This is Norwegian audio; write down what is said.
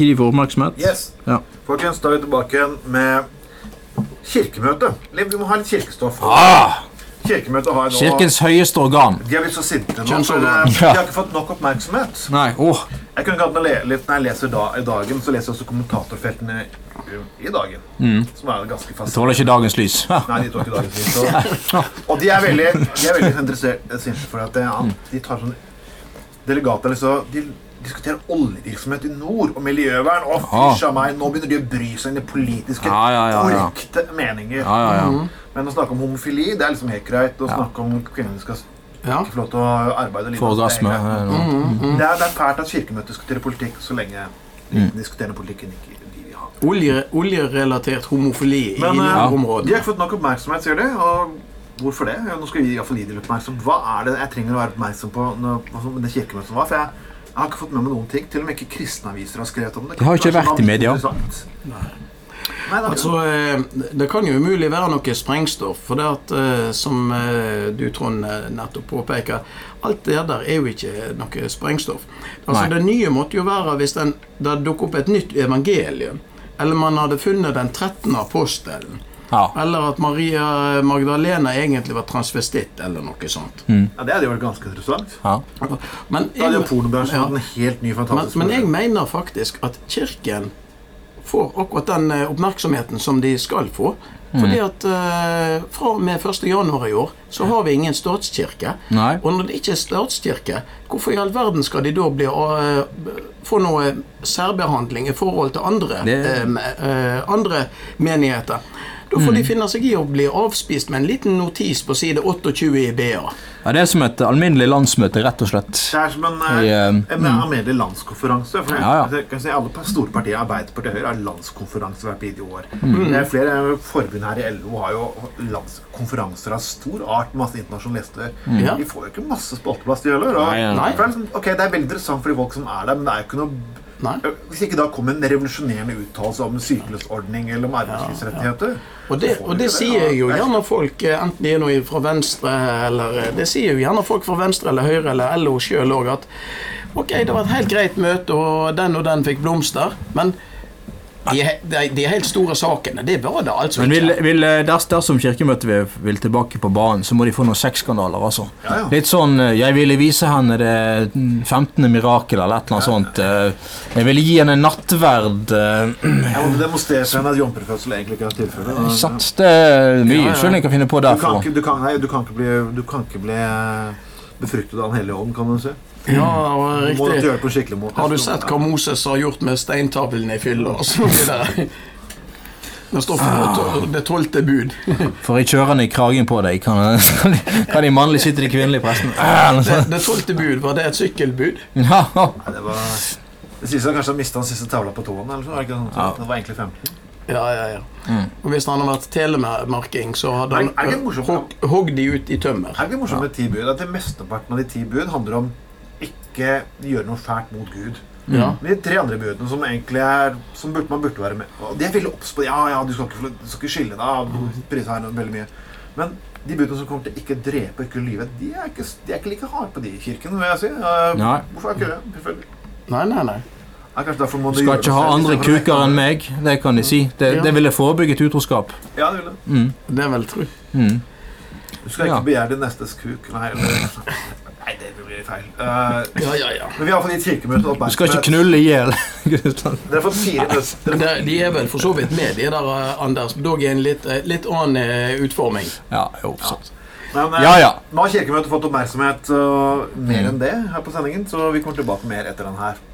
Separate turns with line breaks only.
Gi de for oppmerksomhet.
Yes.
Ja.
Folkens, da er vi tilbake igjen med kirkemøte. Liv, vi må ha litt kirkestoff.
Ah,
Kirkemøtet har nå
kirkens høyeste organ.
De er litt så sinte nå, for eh,
Kjønnsorgan.
de har ikke fått nok oppmerksomhet.
Nei, åh.
Jeg kunne godt le litt når jeg leser da, i dagen, så leser jeg også kommentatorfeltene i- i dagen.
Mm.
Som er ganske
Tåler
fascinerende.
ikke dagens lys.
Nei, de tok ikke dagen sin. Så. Og de er veldig, de er veldig interessert, eh, sinte for at eh, han- de tar sånn Delegatene så De diskuterer oljevirksomhet i nord og miljøvern. Og fysj av meg, nå begynner de å bry seg om de politiske,
Ja, ja, ja, ja.
korrekte meninger. Mhm.
Ja, ja, ja.
Men å snakke om homofili, det er liksom helt greit. Å snakke om kvinner skal s-
Ja.
ikke få lov til å arbeide og lide,
Få orgasme.
det er helt greit.
eh, noe.
Det er, det er fælt at Kirkemøtet diskuterer politikk så lenge
Mm.
den diskuterende politikken ikke de vil ha.
Olje, oljerelatert homofili i
Men eh, de
nærområdet.
har ikke fått nok oppmerksomhet, sier de. Og hvorfor det? Ja, nå skal vi iallfall gi dem litt oppmerksomhet. Hva er det jeg trenger å være oppmerksom på når, hva som- det kirkemøtet som var? For jeg, jeg har ikke fått med meg noen ting. Til og med ikke kristne aviser har skrevet om det.
Det har ikke
Kanskje
vært
det var
i media.
interessant. Nei, det er
Altså, eh, det kan jo umulig være noe sprengstoff, for det at, eh, som eh, du, Trond, eh, nettopp påpeker, alt det der er jo ikke noe sprengstoff. Altså,
Nei.
det nye måtte jo være hvis den, det dukket opp et nytt evangelium, eller man hadde funnet den 13. apostelen,
Ja.
eller at Maria Magdalena egentlig var transvestitt, eller noe sånt.
Ja, det hadde jo vært ganske interessant.
ja.
Men
Da hadde jo
jeg-
pornobransjen
Ja.
hatt en helt ny,
Men,
fantastisk
men jeg
modell.
mener faktisk at kirken får akkurat den eh, oppmerksomheten som de skal få. Fordi
Mm.
at eh, fra og med 1. januar i år så har vi ingen statskirke.
Nei.
Og når det ikke er statskirke, hvorfor i all verden skal de da bli, eh, få noe særbehandling i forhold til andre,
Det-
eh, me- eh, andre menigheter? Da får
Mm.
de finne seg i å bli avspist med en liten notis på side 28 i BA.
ja. Det er som et alminnelig landsmøte, rett og slett.
Det er som en, eh,
Jeg, eh,
en alminnelig landskonferanse. For jeg, altså,
Ja, ja.
jeg kan si Alle par- store partier, Arbeiderpartiet og Høyre, har landskonferanse hvert bidige år.
Mm.
Det er flere eh, forbund her i LO har jo landskonferanser av stor art. Masse internasjonale gjester.
Mm.
Ja.
De får jo ikke masse spalteplass, de heller. og-
Nei, nei,
nei.
For det er liksom, ok, det er veldig interessant for de folk som er der, men det er jo ikke noe Eh,
Nei.
Hvis ikke da kommer en revolusjonerende uttalelse om en sykelønnsordning eller om arbeidslivsrettigheter
Og det,
så får
og
de ikke
det sier jo
Ja,
gjerne folk, eh, enten de er noe fra Venstre eller eh, Det sier jo gjerne folk fra Venstre eller Høyre eller LO sjøl òg at OK, det var et helt greit møte, og den og den fikk blomster, men de, he- de, de helt store sakene, det var det altså
Men vil,
ikke.
vil, eh, ders, dersom Kirkemøtet vil, vil tilbake på banen, så må de få noen sexskandaler. Altså.
Ja, ja.
Litt sånn eh, 'Jeg ville vise henne det 15. mirakel' eller et eller annet sånt. eh, 'Jeg ville gi henne nattverd'. eh,
Jeg måtte demonstrere for henne at jomfrufødsel egentlig ikke er tilfellet.
Satt det er mye
Ja, ja.
unnskyldning jeg kan finne på
Du kan,
derfra.
ikke, du, kan, nei, du, kan ikke bli, du kan ikke bli befruktet av Den hellige ånd, kan du si.
Ja,
Du må nok gjøre
riktig.
det på en skikkelig måte.
Har du sett hva Moses har gjort med steintavlene i fylla og så videre? Det står for to- det tolvte bud.
For jeg kjører henne i kragen på deg. Kan, kan, de, kan de mannlige sitte de kvinnelige prestene? Ah, eller
Det
sånn.
det tolvte bud, var det et sykkelbud?
Ja, ja.
Nei, det var... Det sies at kanskje han mistet den siste tavla på tåen, eller så var det ikke sånn?
Ja.
Det var egentlig 15.
Ja, ja, ja. Og hvis han hadde vært telemarking, så hadde
Er-
han
er det ikke morsomt?
hogg, hogg de ut i tømmer.
Er det ikke morsomt med ti bud? At det mesteparten av de ti bud handler om ikke gjøre noe fælt mot Gud.
Ja.
Men de tre andre budene som egentlig er Som burde, man burde være med Og de er veldig obs på Ja, ja, du skal ikke, få- du skal ikke skille deg Du priser her veldig mye Men de budene som kommer til ikke drepe, ikke lyve De er ikke, de er ikke like harde på de i kirken, vil jeg si Eh,
Nei.
Hvorfor er ikke det? Selvfølgelig
Nei, nei, nei.
Ja, Kanskje derfor må
Du
de
skal
gjøre
ikke
det
ha
selv,
andre
istedenfor å
kuker enn meg. Det kan de si. Det,
Ja.
det ville forebygget utroskap.
nekte. Ja, det vil det
Mm.
Det er vel tru.
Mm.
Du skal
Ja.
ikke begjære din nestes kuk Nei, eller, nei det blir feil Eh,
Ja, ja, ja.
Men vi har iallfall gitt kirkemøtet
Du skal ikke
oppmerksomhet
knulle i hjel. Gustav.
Dere har fått fire nøster
Men det, de er vel for så vidt med, de der, eh, Anders. Dog i en litt, eh, litt annen eh, utforming.
ja, jo, sant.
Men, eh,
ja, ja. Mm.
Nå har kirkemøtet fått oppmerksomhet og mer enn det her på sendingen Så vi kommer tilbake mer etter den her